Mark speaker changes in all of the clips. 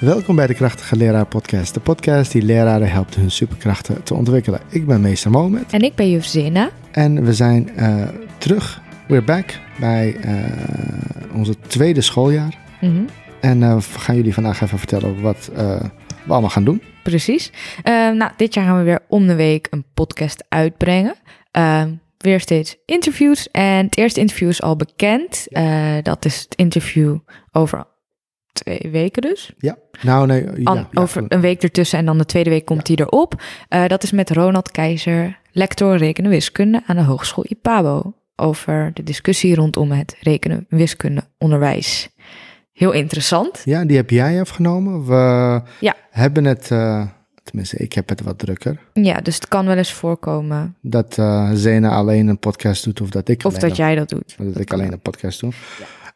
Speaker 1: Welkom bij de Krachtige Leraar Podcast. De podcast die leraren helpt hun superkrachten te ontwikkelen. Ik ben meester Mohamed
Speaker 2: En ik ben juf Zena.
Speaker 1: en we zijn eh, terug. We're back bij eh, onze tweede schooljaar.
Speaker 2: Mhm,
Speaker 1: En eh, we gaan jullie vandaag even vertellen over wat eh, we allemaal gaan doen.
Speaker 2: Precies. Ehm, nou, dit jaar gaan we weer om de week een podcast uitbrengen. Ehm, weer steeds interviews. En het eerste interview is al bekend. Eh, dat is het interview over twee weken dus.
Speaker 1: Nou, nee. ja,
Speaker 2: An-
Speaker 1: ja,
Speaker 2: over een week ertussen en dan de tweede week komt die erop. Eh, dat is met Ronald Keizer, lector rekenen wiskunde aan de Hogeschool IPABO. Over de discussie rondom het rekenen wiskunde onderwijs. Heel interessant.
Speaker 1: Ja, die heb jij afgenomen. We
Speaker 2: Ja.
Speaker 1: hebben het, eh, tenminste, ik heb het wat drukker.
Speaker 2: Ja, dus het kan wel eens voorkomen
Speaker 1: Dat eh, Zena alleen een podcast doet of dat ik
Speaker 2: Of
Speaker 1: alleen
Speaker 2: dat jij dat doet.
Speaker 1: Dat, ik
Speaker 2: kan
Speaker 1: alleen een podcast doe.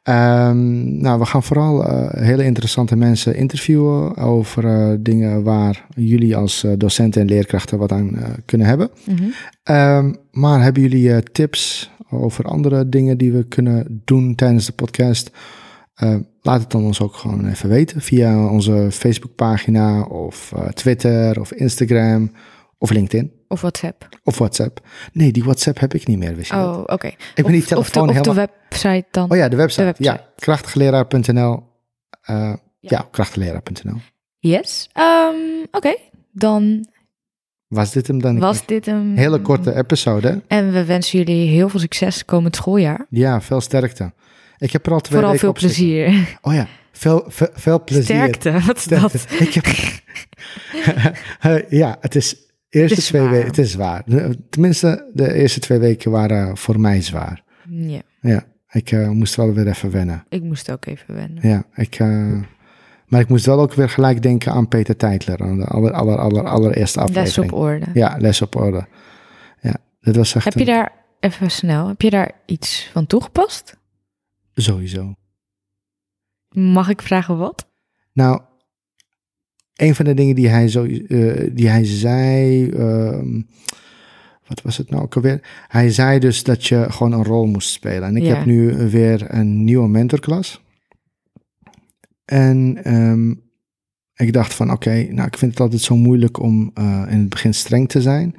Speaker 1: Ehm, nou, we gaan vooral eh, hele interessante mensen interviewen over eh, dingen waar jullie als eh, docenten en leerkrachten wat aan eh, kunnen hebben.
Speaker 2: Mhm.
Speaker 1: Ehm, maar hebben jullie eh, tips over andere dingen die we kunnen doen tijdens de podcast? Eh, laat het dan ons ook gewoon even weten via onze Facebookpagina of eh, Twitter of Instagram of LinkedIn
Speaker 2: Of WhatsApp.
Speaker 1: of WhatsApp. Nee, die WhatsApp heb ik niet meer, wist je dat?
Speaker 2: Oh, oké.
Speaker 1: Ik ben die
Speaker 2: Of- of de,
Speaker 1: telefoon
Speaker 2: of de
Speaker 1: helemaal...
Speaker 2: website dan.
Speaker 1: Oh ja, de website.
Speaker 2: De website.
Speaker 1: Ja, krachtigleraar.nl. Eh, ja, krachtigleraar.nl.
Speaker 2: Yes. Ehm, oké, dan
Speaker 1: Was dit hem dan?
Speaker 2: was dit een...
Speaker 1: Een hele korte episode. hè?
Speaker 2: En we wensen jullie heel veel succes komend schooljaar.
Speaker 1: Ja, veel sterkte. Ik heb er al twee
Speaker 2: Vooral
Speaker 1: weken
Speaker 2: veel
Speaker 1: op zitten.
Speaker 2: plezier.
Speaker 1: Oh ja, veel, veel, veel plezier.
Speaker 2: Sterkte, wat is
Speaker 1: Sterkte.
Speaker 2: dat?
Speaker 1: Ik heb... Eh, ja, het is eerste
Speaker 2: Het is
Speaker 1: twee
Speaker 2: zwaar.
Speaker 1: weken. Het is zwaar. Tenminste, de eerste twee weken waren voor mij zwaar.
Speaker 2: Ja,
Speaker 1: Ja, ik eh, moest wel weer even wennen.
Speaker 2: ik moest ook even wennen.
Speaker 1: Ja, ik, eh, maar ik moest wel ook weer gelijk denken aan Peter Teitler. Aan de aller, aller, aller, allereerste aflevering.
Speaker 2: Les op orde.
Speaker 1: Ja, les op orde. Ja, dat was echt
Speaker 2: Heb je
Speaker 1: een-
Speaker 2: daar, even snel, heb je daar iets van toegepast?
Speaker 1: sowieso.
Speaker 2: Mag ik vragen wat?
Speaker 1: Nou, een van de dingen die hij, zo, eh, die hij zei, ehm, wat was het nou ook alweer? Hij zei dus dat je gewoon een rol moest spelen. En ik
Speaker 2: Ja.
Speaker 1: heb nu weer een nieuwe mentorklas. En ehm, ik dacht van, oké, nou, ik vind het altijd zo moeilijk om eh, in het begin streng te zijn.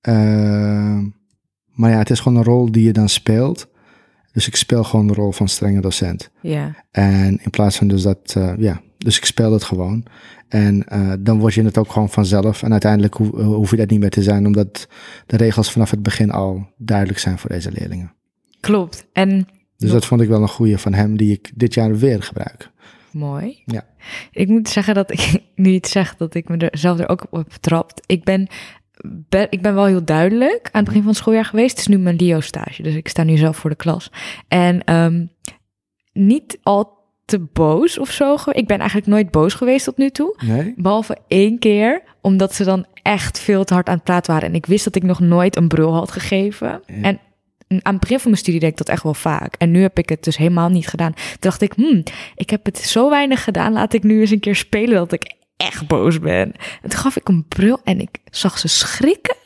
Speaker 1: Ehm, maar ja, het is gewoon een rol die je dan speelt. Dus ik speel gewoon de rol van strenge docent.
Speaker 2: Ja,
Speaker 1: En in plaats van dus dat, eh, ja, dus ik speel het gewoon. En eh, dan word je het ook gewoon vanzelf. En uiteindelijk hoef, hoef je dat niet meer te zijn, omdat de regels vanaf het begin al duidelijk zijn voor deze leerlingen.
Speaker 2: klopt. En
Speaker 1: Dus dat vond ik wel een goede van hem, die ik dit jaar weer gebruik.
Speaker 2: Mooi.
Speaker 1: Ja.
Speaker 2: Ik moet zeggen dat ik nu iets zeg dat ik me er zelf er ook op heb betrapt. Ik ben, ben, ik ben wel heel duidelijk aan het begin van het schooljaar geweest. Het is nu mijn Leo-stage, dus ik sta nu zelf voor de klas. En ehm, niet al te boos of zo. ge- Ik ben eigenlijk nooit boos geweest tot nu toe.
Speaker 1: Nee?
Speaker 2: Behalve één keer, omdat ze dan echt veel te hard aan het praten waren. En ik wist dat ik nog nooit een brul had gegeven.
Speaker 1: Ja.
Speaker 2: En aan het begin van mijn studie deed ik dat echt wel vaak. En nu heb ik het dus helemaal niet gedaan. Toen dacht ik, hmm, ik heb het zo weinig gedaan. Laat ik nu eens een keer spelen dat ik echt boos ben. En toen gaf ik een brul en ik zag ze schrikken.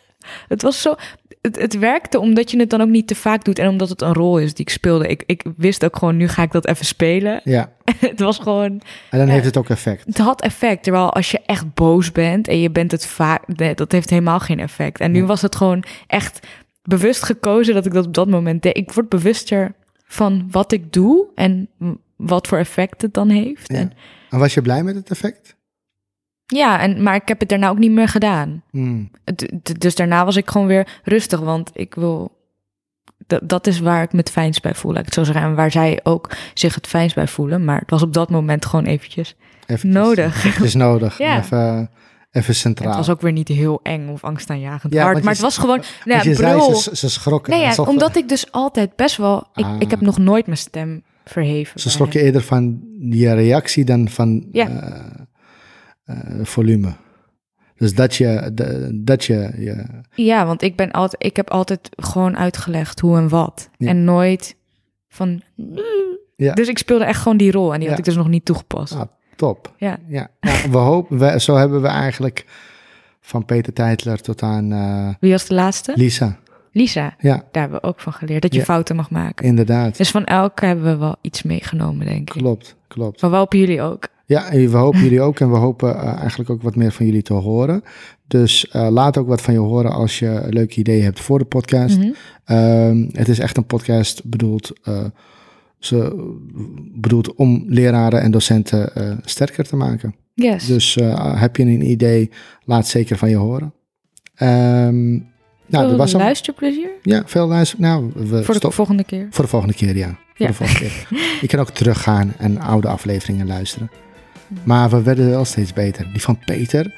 Speaker 2: Het was zo... Het, het werkte omdat je het dan ook niet te vaak doet. En omdat het een rol is die ik speelde. Ik, ik wist ook gewoon, nu ga ik dat even spelen.
Speaker 1: Ja,
Speaker 2: het was gewoon...
Speaker 1: en dan heeft het ook effect.
Speaker 2: Het had effect. Terwijl als je echt boos bent en je bent het vaak, nee, dat heeft helemaal geen effect. En nu was het gewoon echt bewust gekozen dat ik dat op dat moment deed. Ik word bewuster van wat ik doe en w- wat voor effect het dan heeft.
Speaker 1: Ja.
Speaker 2: En,
Speaker 1: En was je blij met het effect?
Speaker 2: ja en, maar ik heb het daarna ook niet meer gedaan.
Speaker 1: Hmm.
Speaker 2: Het- d- Dus daarna was ik gewoon weer rustig, want ik wil. Dat, dat is waar ik me het fijnst bij voel, laat ik het zo zeggen. En waar zij ook zich het fijnst bij voelen. Maar het was op dat moment gewoon eventjes
Speaker 1: Eventjes.
Speaker 2: nodig.
Speaker 1: Het is nodig.
Speaker 2: Ja.
Speaker 1: Even, even centraal.
Speaker 2: Het was ook weer niet heel eng of angstaanjagend
Speaker 1: Ja,
Speaker 2: hard,
Speaker 1: want
Speaker 2: maar
Speaker 1: je
Speaker 2: het was gewoon...
Speaker 1: Want
Speaker 2: Nou, ja,
Speaker 1: je zei,
Speaker 2: brul.
Speaker 1: ze, ze schrokken.
Speaker 2: Nee, ja,
Speaker 1: Alsof-
Speaker 2: omdat ik dus altijd best wel... Ik,
Speaker 1: Ah.
Speaker 2: ik heb nog nooit mijn stem verheven.
Speaker 1: Ze
Speaker 2: bij
Speaker 1: schrokken
Speaker 2: hem.
Speaker 1: eerder van je reactie dan van
Speaker 2: Ja.
Speaker 1: eh, eh, volume. Dus dat je, de- dat je, je-
Speaker 2: Ja, want ik, ben altijd, ik heb altijd gewoon uitgelegd hoe en wat.
Speaker 1: Ja.
Speaker 2: En nooit van...
Speaker 1: Ja.
Speaker 2: Dus ik speelde echt gewoon die rol en die had
Speaker 1: Ja.
Speaker 2: ik dus nog niet toegepast.
Speaker 1: ah, top.
Speaker 2: Ja.
Speaker 1: Ja, Nou, we hopen, we, zo hebben we eigenlijk van Peter Teitler tot aan eh,
Speaker 2: Wie was de laatste?
Speaker 1: Lisa.
Speaker 2: Lisa.
Speaker 1: Ja,
Speaker 2: Daar hebben we ook van geleerd, dat je
Speaker 1: Ja.
Speaker 2: fouten mag maken.
Speaker 1: inderdaad.
Speaker 2: Dus van elke hebben we wel iets meegenomen, denk ik.
Speaker 1: Klopt, klopt.
Speaker 2: Maar wel op jullie ook.
Speaker 1: Ja, en we hopen jullie ook en we hopen eh, eigenlijk ook wat meer van jullie te horen. Dus eh, laat ook wat van je horen als je leuke ideeën hebt voor de podcast.
Speaker 2: Mhm.
Speaker 1: Ehm, het is echt een podcast bedoeld, eh, ze, bedoeld om leraren en docenten eh, sterker te maken.
Speaker 2: Yes.
Speaker 1: Dus eh, heb je een idee, laat zeker van je horen. Ehm, nou, dat
Speaker 2: Veel
Speaker 1: was hem.
Speaker 2: Oh, luisterplezier
Speaker 1: Ja, veel luister. Nou, we
Speaker 2: voor de
Speaker 1: stop-
Speaker 2: volgende keer.
Speaker 1: voor de volgende keer, ja. Voor
Speaker 2: Ja.
Speaker 1: de volgende keer. Je kan ook teruggaan en oude afleveringen luisteren. Maar we werden wel steeds beter. Die van Peter,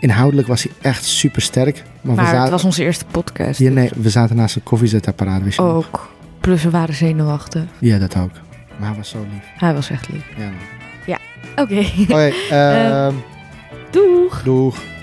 Speaker 1: inhoudelijk was hij echt super sterk. Maar, we,
Speaker 2: Maar het
Speaker 1: zaten,
Speaker 2: was onze eerste podcast.
Speaker 1: ja, nee, we zaten naast een koffiezetapparaat. Wist je nog?
Speaker 2: Ook. Plus we waren zenuwachtig.
Speaker 1: Ja, dat ook. Maar hij was zo lief.
Speaker 2: Hij was echt lief.
Speaker 1: Ja, man.
Speaker 2: Oké.
Speaker 1: Oké, ehm,
Speaker 2: Doeg!
Speaker 1: doeg.